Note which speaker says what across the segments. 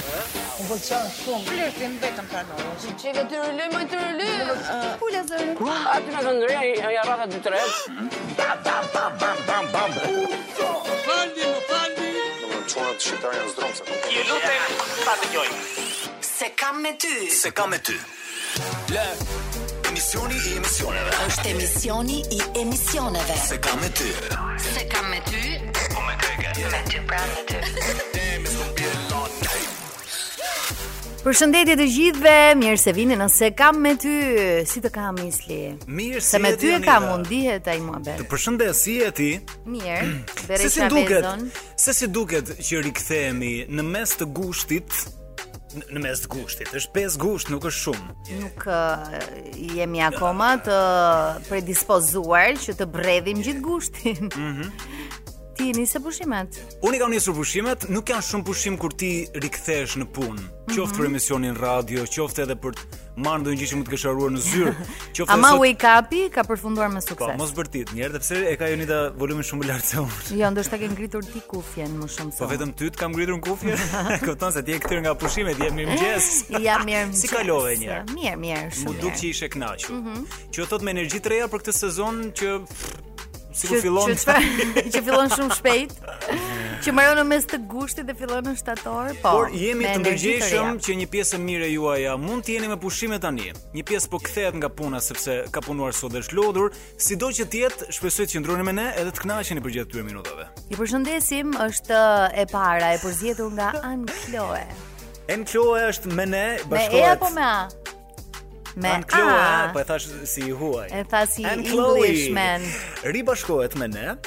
Speaker 1: më pëlqen shumë.
Speaker 2: Flirtim vetëm pranoj.
Speaker 3: Që ke ty rëllim, më ty rëllim.
Speaker 2: Pula zëri.
Speaker 4: Aty në këndëria i arrafa dy tre.
Speaker 5: Domethënë çunat shqiptarë janë zdromse.
Speaker 6: Ju lutem, ta dëgjoj.
Speaker 7: Se kam me ty
Speaker 6: Se kam me ty. Lë. Emisioni i emisioneve.
Speaker 7: është emisioni i emisioneve
Speaker 6: Se kam me ty.
Speaker 7: Se kam me ty
Speaker 6: Po me kreke.
Speaker 7: Me ty pra me ty
Speaker 6: Damn, it's gonna be a long night.
Speaker 8: Përshëndetje të gjithëve, mirë se vini nëse kam me ty, si të kam Isli.
Speaker 9: Mirë si
Speaker 8: Se me
Speaker 9: je
Speaker 8: ty e
Speaker 9: Dianita?
Speaker 8: kam, unë dihet ai
Speaker 9: Të
Speaker 8: muhabet.
Speaker 9: përshëndes si je ti?
Speaker 8: Mirë,
Speaker 9: Se
Speaker 8: bere
Speaker 9: si duket? Se si duket që rikthehemi në mes të gushtit? N- Në mes të gushtit. Është 5 gusht, nuk është shumë.
Speaker 8: Nuk ë, jemi akoma të predispozuar që të bredhim gjithë gushtin.
Speaker 9: Mhm.
Speaker 8: Ti nisi pushimet.
Speaker 9: Unë i kam nisur pushimet, nuk janë shumë pushim kur ti rikthehesh në punë.
Speaker 8: Mhm.
Speaker 9: Qoftë për emisionin radio, qoftë edhe për të marrë ndonjë gjë që mund të kesh haruar në zyrë, qoftë
Speaker 8: Ama
Speaker 9: edhe sot-
Speaker 8: wake upi ka përfunduar me
Speaker 9: Po,
Speaker 8: sukses.
Speaker 9: mos bërtit njerë, dhe pse e ka Jonida volumin shumë të lartë se unë.
Speaker 8: Jo, ndoshta ke ngritur ti kufjen më shumë se.
Speaker 9: Po
Speaker 8: unë.
Speaker 9: vetëm ty të kam ngritur në kufje. Kupton se ti je kthyer nga pushimet, je mirëmëngjes.
Speaker 8: Ja mirë.
Speaker 9: Si
Speaker 8: mëngjes.
Speaker 9: kalove një?
Speaker 8: Mirë, mirë,
Speaker 9: Mu
Speaker 8: shumë.
Speaker 9: duk që
Speaker 8: mirë.
Speaker 9: ishe kënaqur.
Speaker 8: Mhm.
Speaker 9: Që thot me energji të reja për këtë sezon që sikur
Speaker 8: Që-
Speaker 9: fillon
Speaker 8: që çfarë- që fillon shumë shpejt. Që mbaron në mes të gushtit dhe fillon në shtator, po.
Speaker 9: Por jemi
Speaker 8: me
Speaker 9: të
Speaker 8: energji
Speaker 9: ndërgjeshëm
Speaker 8: reja.
Speaker 9: që një pjesë e mire juaja mund të jeni me pushime tani. Një pjesë po kthehet nga puna sepse ka punuar sot dhe është lodhur. Sido që të jetë, shpresoj të qëndroni me ne edhe të kënaqeni për gjatë këtyre minutave.
Speaker 8: Ju përshëndesim, është uh, e para e përzgjedhur nga An Kloe.
Speaker 9: En Kloe është me ne,
Speaker 8: Me e
Speaker 9: bashkohet.
Speaker 8: apo me a? Me
Speaker 9: An Kloe,
Speaker 8: a.
Speaker 9: po e thash si i huaj.
Speaker 8: E tha si
Speaker 9: Ann Chloe.
Speaker 8: Englishman.
Speaker 9: Ribashkohet me ne.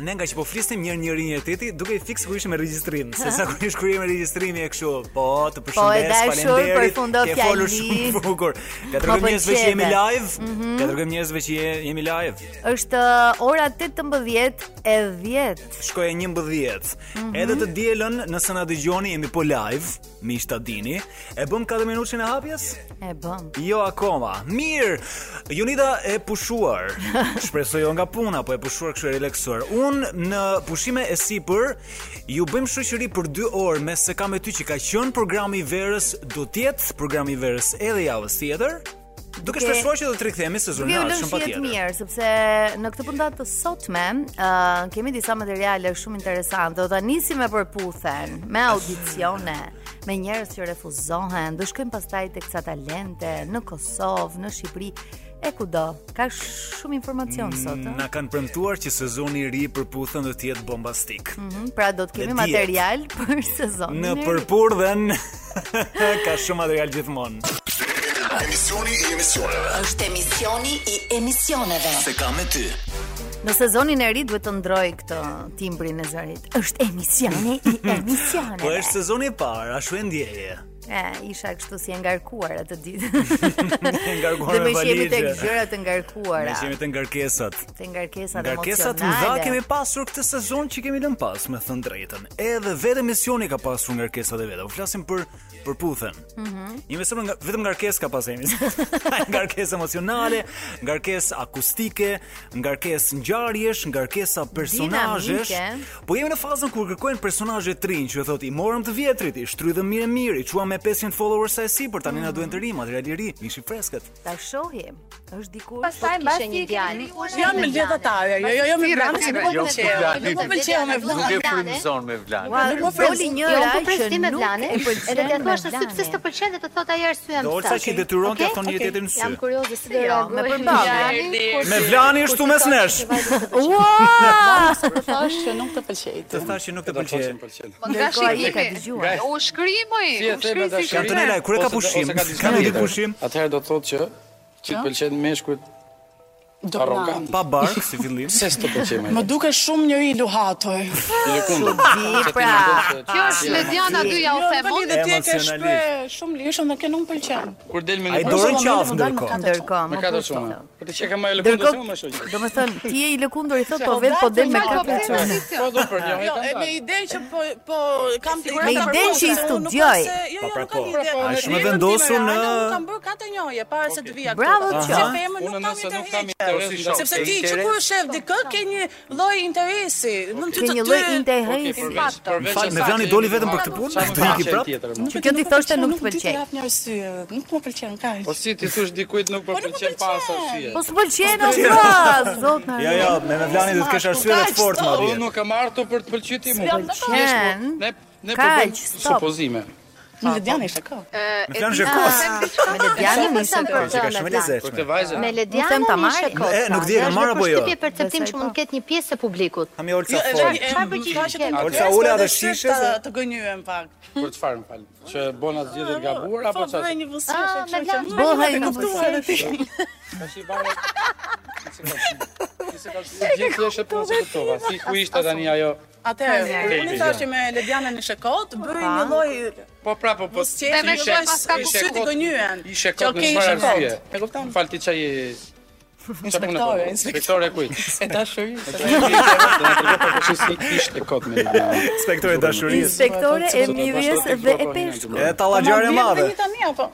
Speaker 9: Ne nga që po flisnim njërë njëri një teti, duke i fiks kur ishim me regjistrim, se sa kur ish kur jemi registrimi e kështu, po, të përshëndes,
Speaker 8: Po, e dashur,
Speaker 9: falenderit,
Speaker 8: përfundo
Speaker 9: ke folur
Speaker 8: fjali. Mhm.
Speaker 9: shumë bukur. Ka
Speaker 8: Po,
Speaker 9: tregojmë njerëzve që
Speaker 8: pëlqeve.
Speaker 9: jemi live, ka tregojmë njerëzve që je- jemi live.
Speaker 8: Është uh, ora 18 e 10.
Speaker 9: Shkoja 11.
Speaker 8: Mhm.
Speaker 9: Edhe të dielën, nëse na dëgjoni, jemi po live, miq ta dini. E bëm 4 minutën e hapjes?
Speaker 8: E bëm.
Speaker 9: Jo akoma. Mirë. Junida e pushuar. Shpresoj jo nga puna, po e pushuar kështu e relaksuar. Unë në pushime e sipër ju bëjmë shoqëri për 2 orë me se kam me ty që ka qenë programi i verës, do të jetë programi i verës edhe javës tjetër. Duke
Speaker 8: Duke-
Speaker 9: shpresuar që do të rikthehemi
Speaker 8: Duke u
Speaker 9: sezonal,
Speaker 8: lënë
Speaker 9: shumë
Speaker 8: shihet
Speaker 9: patjetër.
Speaker 8: mirë, sepse në këtë puntat të sotme, uh, kemi disa materiale shumë interesante. Do ta nisim me përputhen, me audicione, me njerëz që refuzohen, do shkojmë pastaj tek sa talente në Kosovë, në Shqipëri e kudo. Ka shumë informacion sot, ëh.
Speaker 9: Na kanë premtuar që sezoni i ri për puthën do të jetë bombastik.
Speaker 8: Mhm, Pra do të kemi
Speaker 9: Në diet.
Speaker 8: material për sezonin.
Speaker 9: Në
Speaker 8: e ri.
Speaker 9: përpurdhën ka shumë material gjithmonë.
Speaker 6: Emisioni i emisioneve.
Speaker 7: është emisioni i emisioneve
Speaker 6: Se kam me ty.
Speaker 8: Në sezonin e ri duhet të ndroj këtë timbrin e zërit. Është emisioni i emisioneve.
Speaker 9: Po është sezoni i parë, ashtu e ndjeje.
Speaker 8: E, isha kështu si e ngarkuar atë ditë.
Speaker 9: Ngarkuar
Speaker 8: Dhe
Speaker 9: me
Speaker 8: me qemi
Speaker 9: valigje.
Speaker 8: tek gjërat e ngarkuara.
Speaker 9: Ne jemi të ngarkesat.
Speaker 8: Te ngarkesat
Speaker 9: Ngarkesat më dha
Speaker 8: emocionale.
Speaker 9: kemi pasur këtë sezon që kemi lënë pas, me thënë drejtën. Edhe vetë emisioni ka pasur ngarkesat e veta. U flasim për për puthen. Mhm. një mesur nga vetëm ngarkesë ka pas emisioni. ngarkesë emocionale, ngarkesë akustike, ngarkesë ngjarjesh, ngarkesa personazhesh.
Speaker 8: Dinamike.
Speaker 9: Po jemi në fazën kur kërkojnë personazhe të rinj, që e thotë i morëm të vjetrit, i shtrydhëm mirë mirë, i çuam me 500 followers sa e sipër, tani na duhen të ri, material i ri, mishi freskët.
Speaker 8: Ta shohim. Është dikur
Speaker 3: Pastaj
Speaker 2: Po,
Speaker 3: mbas
Speaker 2: kishe
Speaker 3: një
Speaker 2: një
Speaker 3: djalë.
Speaker 1: Janë me gjetëtare, jo, jo, jo me
Speaker 2: Tira,
Speaker 1: vranë, se
Speaker 2: tira,
Speaker 1: nuk më
Speaker 2: jo,
Speaker 1: pëlqeu.
Speaker 3: Nuk
Speaker 1: Nuk më pëlqeu me vranë.
Speaker 3: Nuk e frymëzon.
Speaker 8: Ua,
Speaker 1: nuk më
Speaker 8: doli
Speaker 1: pres-
Speaker 8: njëra
Speaker 3: Jo, po
Speaker 8: që
Speaker 3: presim me
Speaker 8: nuk
Speaker 3: Vlanin,
Speaker 8: e pëlqen
Speaker 3: edhe t'ia
Speaker 8: me
Speaker 3: thuash se sepse
Speaker 8: Vlanin.
Speaker 3: s'të pëlqen dhe të thotë ajo arsye
Speaker 9: Do olsa që i detyron t'ia thonë njëri tjetrin në sy.
Speaker 3: Jam kurioze si do
Speaker 8: Jo,
Speaker 3: reagoj.
Speaker 8: me përmbaj.
Speaker 9: Me Vlani shtu mes nesh.
Speaker 8: Ua!
Speaker 1: Thash që nuk të pëlqej.
Speaker 9: Të thash që nuk të pëlqej.
Speaker 8: Ndërkohë ai ka dëgjuar.
Speaker 2: U shkri moj, u shkri si shkri.
Speaker 9: Antonella, kur e ka pushim? Ka një ditë pushim
Speaker 5: Atëherë do të thotë që që të pëlqen meshkujt arrogant.
Speaker 9: pa bark si fillim.
Speaker 5: Se s'të pëlqen.
Speaker 1: Më duke shumë njëri luhatoj.
Speaker 5: Një sekondë.
Speaker 8: Di pra.
Speaker 2: Kjo është Mediana dy ja u
Speaker 1: Jo,
Speaker 2: them.
Speaker 1: tani dhe ti e ke
Speaker 9: Emocionalisht.
Speaker 1: shpe shumë lirshëm dhe ke nuk më pëlqen.
Speaker 5: Kur del me
Speaker 9: Ai
Speaker 5: një
Speaker 9: dorën
Speaker 5: person,
Speaker 9: qafë
Speaker 1: Unë dal me
Speaker 9: ndërkohë.
Speaker 1: katër çonë.
Speaker 8: Ndërkohë,
Speaker 5: me
Speaker 8: më
Speaker 5: katër
Speaker 8: kushto.
Speaker 5: çuna. Po ti çka më e lëkundë
Speaker 8: Ndërkohë,
Speaker 5: se unë më shoqë.
Speaker 8: do të thënë, ti je i lëkundur i thotë,
Speaker 1: Po,
Speaker 8: po vetë po
Speaker 1: dal,
Speaker 8: del me
Speaker 1: po,
Speaker 2: Po
Speaker 1: dal,
Speaker 8: katër
Speaker 2: pse
Speaker 8: çuna.
Speaker 2: si
Speaker 5: Po do për një
Speaker 1: Jo, e me idenë që po po kam figurë
Speaker 8: Me idenë që i studioj.
Speaker 1: jo,
Speaker 9: Pa, pra, po. Është me vendosur në-
Speaker 1: Kam bërë katër njoje para se të vija këtu.
Speaker 8: Bravo,
Speaker 1: Se
Speaker 8: Qo.
Speaker 1: femër
Speaker 5: Unë
Speaker 1: nuk kam
Speaker 5: nëse nuk kam
Speaker 1: interes.
Speaker 9: Po,
Speaker 5: interes
Speaker 1: në-
Speaker 5: në
Speaker 1: Sepse ti që kur shef dikë ke një lloj interesi. Në ty
Speaker 8: Ke
Speaker 1: të
Speaker 8: një lloj
Speaker 1: dy
Speaker 5: Okej,
Speaker 8: interesi.
Speaker 5: përveç- përveç
Speaker 9: Fal,
Speaker 5: asaj
Speaker 9: me
Speaker 5: që
Speaker 9: Vlani
Speaker 5: jemi
Speaker 9: doli vetëm
Speaker 5: marrë.
Speaker 9: për këtë punë?
Speaker 5: Çfarë
Speaker 9: Do iki
Speaker 5: faqe
Speaker 9: prap?
Speaker 5: tjetër, mo?
Speaker 1: Nuk
Speaker 8: Që kjo ti thoshte nuk të
Speaker 1: di të
Speaker 8: pëlqej.
Speaker 1: jap një arsye, nuk më pëlqen kaq.
Speaker 5: Po si ti thosh dikujt nuk po
Speaker 1: Po nuk më
Speaker 5: pëlqen pa
Speaker 1: pëlqen.
Speaker 5: arsye.
Speaker 8: Po s'pëlqen o pra, zot na.
Speaker 9: Jo, jo, me me Vlani do të kesh arsye të fortë
Speaker 5: Unë
Speaker 9: madje.
Speaker 5: nuk kam ardhur për të pëlqyer ti mua.
Speaker 1: S'jam
Speaker 5: po
Speaker 1: dakord.
Speaker 5: thjesht po-
Speaker 8: Ken,
Speaker 5: Ne ne po
Speaker 8: kaq,
Speaker 5: bëjmë
Speaker 8: stop.
Speaker 5: supozime.
Speaker 1: Në
Speaker 5: po.
Speaker 1: Lidjan ishte kë?
Speaker 9: Me Vlani
Speaker 3: Jo,
Speaker 9: Zhekos.
Speaker 3: Me Ledianën
Speaker 8: Shumë
Speaker 3: nisën
Speaker 8: për
Speaker 3: për
Speaker 9: Që
Speaker 3: të
Speaker 9: ka
Speaker 3: me
Speaker 9: shumë e
Speaker 3: plan.
Speaker 5: Për këtë
Speaker 9: lezetshme.
Speaker 5: vajzën.
Speaker 3: Me
Speaker 8: Nuk them ta
Speaker 3: Ledianën
Speaker 8: marri.
Speaker 3: nishe kota.
Speaker 9: E, nuk di, e
Speaker 3: Dhe është
Speaker 9: marr
Speaker 3: një
Speaker 9: apo jo?
Speaker 3: përshtypje perceptim që mund ketë një pjesë e publikut.
Speaker 9: Kam i olca
Speaker 1: e,
Speaker 9: fort.
Speaker 1: e,
Speaker 3: Çfarë
Speaker 1: e,
Speaker 5: po
Speaker 3: përgjigje
Speaker 1: ka që
Speaker 3: ke?
Speaker 1: të
Speaker 9: Olca
Speaker 1: ngres,
Speaker 9: ula
Speaker 1: po
Speaker 9: dhe
Speaker 1: shqyrë
Speaker 9: shishe,
Speaker 1: ta-
Speaker 9: se-
Speaker 1: Të gënjyen pak.
Speaker 5: Për çfarë më fal? Që bona zgjedhje të gabuar apo
Speaker 1: Po bëj
Speaker 5: çfarë?
Speaker 1: një vësishë
Speaker 3: Ah, me
Speaker 1: kështu që
Speaker 3: lan-
Speaker 1: nuk
Speaker 8: Bëhej
Speaker 1: e
Speaker 8: një
Speaker 1: kuptuar e ti.
Speaker 5: Tash i bane. Ti se ka gjithë thjesht po se kuptova. Si ku ishte tani ajo?
Speaker 1: Atëherë,
Speaker 5: Okej,
Speaker 1: unë
Speaker 5: okej,
Speaker 1: thashë me Ledianën në shekot, bëri një lloj
Speaker 5: Po prapë po.
Speaker 1: Mosqefi,
Speaker 2: me
Speaker 1: ishe-
Speaker 2: shkoj pas ka
Speaker 1: ishe
Speaker 5: kushyt i
Speaker 1: kot-
Speaker 5: gënyen.
Speaker 1: Ishe
Speaker 5: Që
Speaker 1: kot në
Speaker 5: okej,
Speaker 1: çfarë
Speaker 5: ishe kot.
Speaker 1: arsye? E kupton?
Speaker 5: Më fal ti çaj
Speaker 1: Inspektore,
Speaker 5: inspektore kujt?
Speaker 1: E dashuri. se-
Speaker 5: Inspektore ishte kot me.
Speaker 9: Inspektori i dashurisë.
Speaker 8: Inspektore e
Speaker 5: Sot do
Speaker 8: mirjes
Speaker 5: vazhdo të
Speaker 8: dhe e
Speaker 5: kërkoj
Speaker 8: peshkut.
Speaker 9: E tallagjarë e
Speaker 1: Ma bjerë
Speaker 9: madhe.
Speaker 1: dhe një tani apo?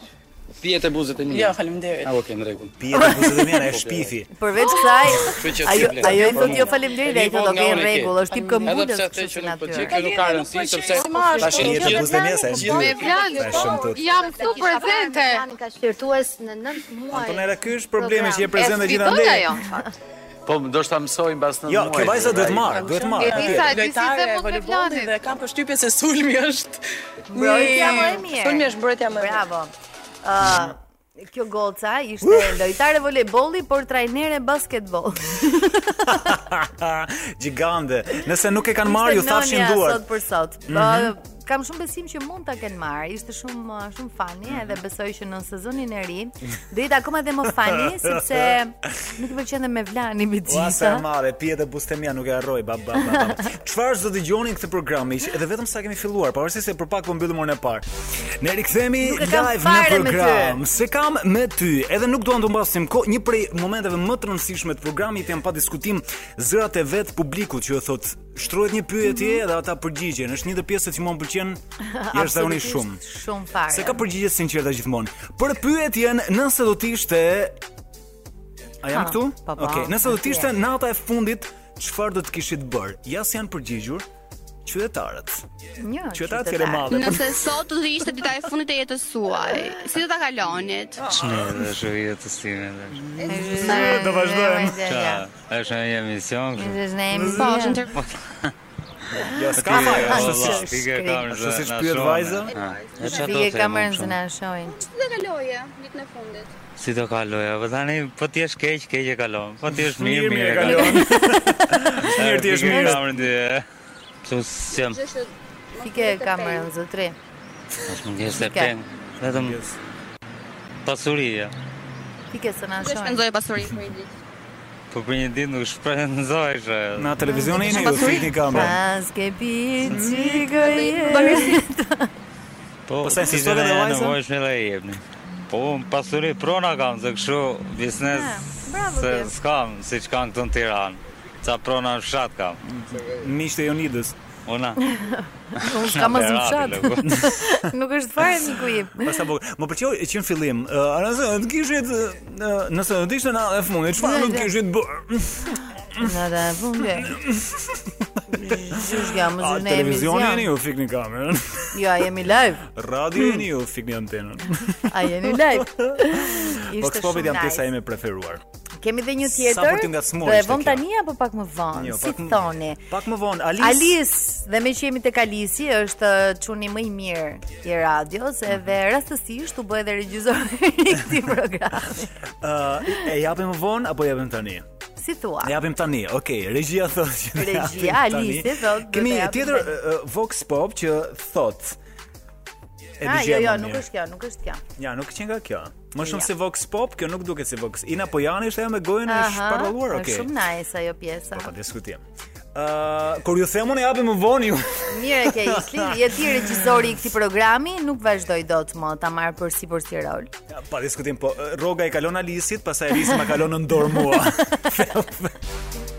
Speaker 5: Pijet e buzët e mia.
Speaker 1: Jo, faleminderit.
Speaker 5: Ah, okay, në rregull.
Speaker 9: Pije të buzët e mia, e shpifi.
Speaker 8: Përveç kësaj,
Speaker 5: Kështu që
Speaker 8: ajo
Speaker 5: si
Speaker 8: ajo i
Speaker 5: blen.
Speaker 8: thotë jo faleminderit, ai
Speaker 5: Mi
Speaker 8: thotë
Speaker 5: vot nga
Speaker 8: okay
Speaker 5: unë
Speaker 8: në
Speaker 5: e ke."
Speaker 8: rregull, është tip
Speaker 5: Edhe
Speaker 8: këmbulës
Speaker 5: pse the
Speaker 8: kështu
Speaker 5: që
Speaker 8: në
Speaker 5: nuk po pëlqej,
Speaker 8: natyrë.
Speaker 5: kjo nuk ka rëndësi sepse tash
Speaker 9: Pije të buzët e mia, se e
Speaker 2: Me
Speaker 9: shpifi.
Speaker 2: Vlani,
Speaker 9: Sa e shumë
Speaker 2: po,
Speaker 9: tut.
Speaker 2: jam këtu prezente.
Speaker 3: Ka shqyrtues në 9 muaj.
Speaker 9: Antonella, ky është problemi që
Speaker 2: E
Speaker 9: je prezente
Speaker 2: sfitoj
Speaker 9: gjithandej.
Speaker 2: ajo, në fakt.
Speaker 10: Po, ndoshta mësojmë pas në
Speaker 9: Jo, kjo vajza duhet marr, duhet marr.
Speaker 2: E disa,
Speaker 9: patjetër.
Speaker 2: e disi
Speaker 1: Lojtare
Speaker 2: se
Speaker 1: e
Speaker 2: mund me
Speaker 1: voleybollit
Speaker 2: Vlanin.
Speaker 1: dhe kam përshtypje se sulmi është
Speaker 8: Mbrojtja më e mirë.
Speaker 1: Sulmi është mbrojtja më e mirë.
Speaker 8: Bravo. Ë, kjo goca ishte lojtare volejbolli, por trajnere basketboll.
Speaker 9: Gjigande. Nëse nuk e kanë marrë, ju
Speaker 8: Ishte
Speaker 9: thafshin
Speaker 8: nënja
Speaker 9: duart. Mhm.
Speaker 8: Sot për sot. Ë, Kam shumë besim që mund ta kenë marrë. Ishte shumë uh, shumë fani
Speaker 9: Mhm.
Speaker 8: edhe besoj që në sezonin e ri do jetë akoma dhe më fani sepse nuk i pëlqen dhe me Vlani mbi
Speaker 9: Ua se e
Speaker 8: gjitha.
Speaker 9: marre, pije dhe buzët e mia nuk e harroj, ba ba ba. ba. Çfarë do dëgjoni në këtë program miq? Edhe vetëm sa kemi filluar, pavarësisht se për pak po mbyllim orën e parë. Ne rikthehemi
Speaker 8: Nuk e kam
Speaker 9: live në
Speaker 8: fare me ty.
Speaker 9: program. Se kam me ty, edhe nuk duan të mbasim kohë. Një prej momenteve më të rëndësishme të programit janë pa diskutim zërat e vet publikut që e thot shtrohet një pyetje dhe ata përgjigjen. Është një dhe pjesët që mua më pëlqen jashtëzakonisht
Speaker 8: Absolutisht
Speaker 9: shumë.
Speaker 8: Shumë fare.
Speaker 9: Se ka përgjigje sinqerta gjithmonë. Për pyetjen nëse do të ishte A jam
Speaker 8: Ha,
Speaker 9: këtu?
Speaker 8: pa, pa,
Speaker 9: Okej, nëse do të
Speaker 8: atje.
Speaker 9: ishte nata e fundit, çfarë do të kishit bër? Ja si janë përgjigjur qytetarët.
Speaker 8: Një,
Speaker 9: Qytetarët
Speaker 8: qytetar.
Speaker 9: fjalë e madhe.
Speaker 11: Nëse sot do të ishte dita e fundit e jetës suaj, si do ta kalonit?
Speaker 10: Është jetës time.
Speaker 9: Do vazhdojmë.
Speaker 8: Ja, ja, ja.
Speaker 10: Është një emision. kështu.
Speaker 8: Është në
Speaker 11: Po,
Speaker 8: emision.
Speaker 11: është një tërë.
Speaker 9: Jo, s'ka më.
Speaker 8: Ashtu
Speaker 9: Ashtu
Speaker 8: si
Speaker 9: si
Speaker 8: është.
Speaker 10: Pikë e kamerën.
Speaker 9: ashtu si
Speaker 10: na
Speaker 9: shpyet
Speaker 10: shohën.
Speaker 9: vajza?
Speaker 10: Ha. E çfarë do
Speaker 8: Fike
Speaker 10: të
Speaker 8: kamerën
Speaker 10: them
Speaker 8: se
Speaker 10: unë
Speaker 8: na shohin.
Speaker 11: Si do kaloje ditën e fundit?
Speaker 10: shumë? Si do kaloja? Po tani po ti je keq, keq e kalon. Po ti je mirë,
Speaker 9: Mirë, mirë,
Speaker 10: mirë e kalon.
Speaker 9: kalon. Mirë, ti je
Speaker 10: Pikë e
Speaker 9: mirë.
Speaker 10: Kamerën ti. e. Kështu si jam.
Speaker 11: Gjë që
Speaker 8: Fike kamerën zotri.
Speaker 10: Është mëngjes e
Speaker 8: Pikë.
Speaker 10: peng. Vetëm pasuria.
Speaker 8: Fike se na
Speaker 11: do të
Speaker 8: shohin.
Speaker 11: shpenzoj pasuri për një ditë.
Speaker 10: Po për një ditë nuk shprehenzohesh. e.
Speaker 9: Na televizion jeni ju fikni kamerën.
Speaker 8: Pas ke pi çiko
Speaker 11: Bëri
Speaker 8: je.
Speaker 10: Po,
Speaker 9: Po sa
Speaker 10: si
Speaker 9: insiston
Speaker 10: dhe
Speaker 9: edhe
Speaker 10: e
Speaker 9: vajza?
Speaker 10: nevojshme dhe e jepni. Po, unë pasuri prona kam, se kështu biznes
Speaker 8: bravo,
Speaker 10: se
Speaker 8: Bim.
Speaker 10: s'kam, si që kanë këtu në Tiranë. Ca prona në fshat kam.
Speaker 9: Miqtë e Jonidës.
Speaker 10: Una.
Speaker 12: Po,
Speaker 8: Unë kam
Speaker 10: në
Speaker 8: as
Speaker 10: Tiranë,
Speaker 8: fshat.
Speaker 10: loku.
Speaker 8: Nuk është fare miku im.
Speaker 9: Pastaj po, më pëlqeu që në fillim, ë, a nëse do të kishit ë, nëse do të ishte na e fundit, çfarë do të kishit bër?
Speaker 8: Na da funde. Ju jam
Speaker 9: A
Speaker 8: zonë
Speaker 9: televizion jeni
Speaker 8: emision.
Speaker 9: ju fikni kamerën,
Speaker 8: Jo, jemi live.
Speaker 9: radio jeni ju fikni antenën.
Speaker 8: A jeni live?
Speaker 9: Po
Speaker 8: Ishte
Speaker 9: Xpopit
Speaker 8: shumë
Speaker 9: jam pjesa
Speaker 8: nice.
Speaker 9: ime e preferuar.
Speaker 8: Kemi dhe një
Speaker 9: Sa
Speaker 8: tjetër.
Speaker 9: për t'ju ngacmuar
Speaker 8: Do e
Speaker 9: ishte
Speaker 8: vëm
Speaker 9: kjo. Jo,
Speaker 8: tani apo pak më vonë? si
Speaker 9: pak m-
Speaker 8: thoni?
Speaker 9: Pak më vonë Alis.
Speaker 8: Alis, dhe me që jemi tek Alisi, është çuni më i mirë i radios,
Speaker 9: Mhm.
Speaker 8: edhe rastësisht u bë edhe regjisor i këtij programi.
Speaker 9: ë, uh, e japim më vonë apo japim tani?
Speaker 8: Si thua?
Speaker 9: E japim tani. Okej, regjia thotë që ne
Speaker 8: Regjia,
Speaker 9: japim
Speaker 8: Alisi
Speaker 9: tani.
Speaker 8: thotë do
Speaker 9: Kemi
Speaker 8: t'e
Speaker 9: një
Speaker 8: japim
Speaker 9: tjetër
Speaker 8: tani.
Speaker 9: ë, ë, Vox Pop që thot. E
Speaker 8: Ah,
Speaker 9: dëgjoj
Speaker 8: jo, jo,
Speaker 9: më
Speaker 8: nuk
Speaker 9: mirë.
Speaker 8: është kjo, nuk është kjo.
Speaker 9: Ja, nuk qen nga kjo. Më shumë
Speaker 8: Ja.
Speaker 9: si Vox Pop, kjo nuk duket si Vox. Ina Pojani është Po, ajo me gojën e shparalluar,
Speaker 8: është
Speaker 9: okay.
Speaker 8: Shumë nice ajo pjesa.
Speaker 9: Pa diskutim. Ë, kur ju them unë e japim më vonë ju.
Speaker 8: Mirë e ke Isli, je ti regjisori i këtij programi, nuk vazhdoj dot më ta marr përsipër si rol.
Speaker 9: Ja, Pa diskutim, po ë, rroga i kalon Alisit, pastaj Alisi ma kalon në dorë mua.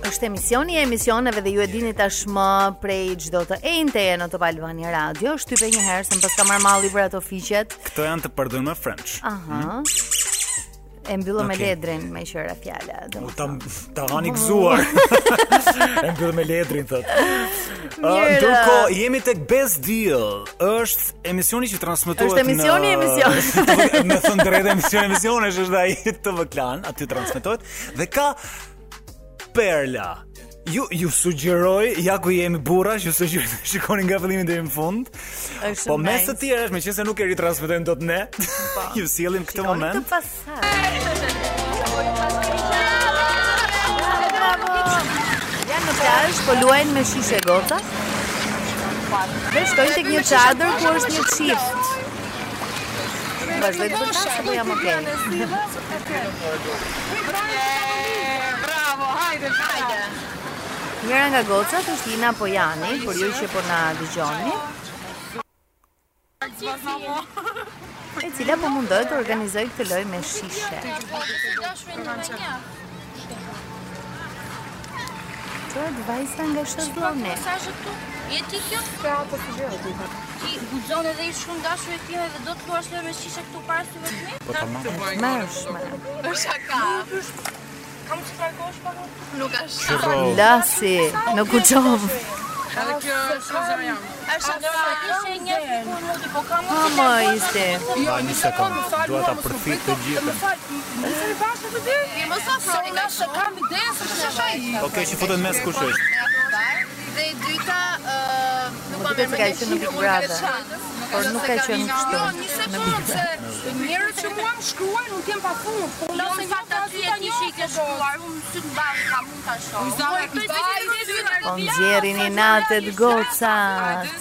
Speaker 8: Është emisioni e emisioneve dhe ju e dini tashmë prej çdo të ente në Top Albani Radio. Shtype një herë se më pas ka marr malli për ato fiqet.
Speaker 9: Këto janë të përdorur në French.
Speaker 8: Aha. e mbyllëm me
Speaker 9: Mhm. Okej.
Speaker 8: ledrin me qëra fjala. Do
Speaker 9: U ta ta hani gëzuar. e mbyll me letrin thot.
Speaker 8: Mirë. uh,
Speaker 9: Ndërkohë jemi tek Best Deal. Është emisioni që transmetohet
Speaker 8: Është emisioni,
Speaker 9: në
Speaker 8: emision.
Speaker 9: TV me thënë drejtë emision emisionesh është ai TV Klan, aty transmetohet dhe ka perla. Ju ju sugjeroj, ja ku jemi burra, ju sugjeroj të shikoni nga fillimi deri në fund.
Speaker 8: Është
Speaker 9: Po mes
Speaker 8: nice. Po.
Speaker 9: të tjerash, meqense nuk e ritransmetojmë dot ne, ju sjellim këtë moment.
Speaker 8: Të pasaj. Janë në plazh, po luajnë me shishe goca. Dhe shkojnë tek një çadër ku është një çift. Vazhdoj të bëj apo jam okay.
Speaker 2: Bravo, hajde, hajde.
Speaker 8: Njëra nga gocat është Ina Pojani, për ju që po na dëgjoni, e cila po mundohet të organizoj këtë lojë me shishe. Çfarë të vajza nga
Speaker 12: Po,
Speaker 8: shëzlloni?
Speaker 12: Je ti kjo? Ka apo si gjë ti? Ti guxon edhe i shumë dashur e time dhe do të luash lojë me shishe këtu para sy vetme?
Speaker 9: Po tamam.
Speaker 8: Mërshme.
Speaker 12: Është shaka. Kam të tragosh pa Nuk ka
Speaker 8: Lasi, në kuqov.
Speaker 12: Edhe kjo është gjë jam. Është shaka. Ishe një punë nuk i po kam.
Speaker 8: Ha, më, iste.
Speaker 9: Pa, një sekundë, dua ta përthi të gjithën.
Speaker 12: Më së bashkë të dy? Mi mos afro. Nga shë kam ide se ç'është ai.
Speaker 9: Okej, që futën mes kush është?
Speaker 12: Dhe e dyta, nuk
Speaker 8: Më duket se ka qenë në Big Brother, por nuk ka qenë kështu.
Speaker 12: Jo, një sekundë, se njerët që mua më shkruajnë, unë t'jem pa punë. Po, unë se nga ta ty e ti shi ke shkruar, unë sy të mbarë, kam unë ta shohë. Unë zahë e
Speaker 8: Po nxjerrin i natët goca.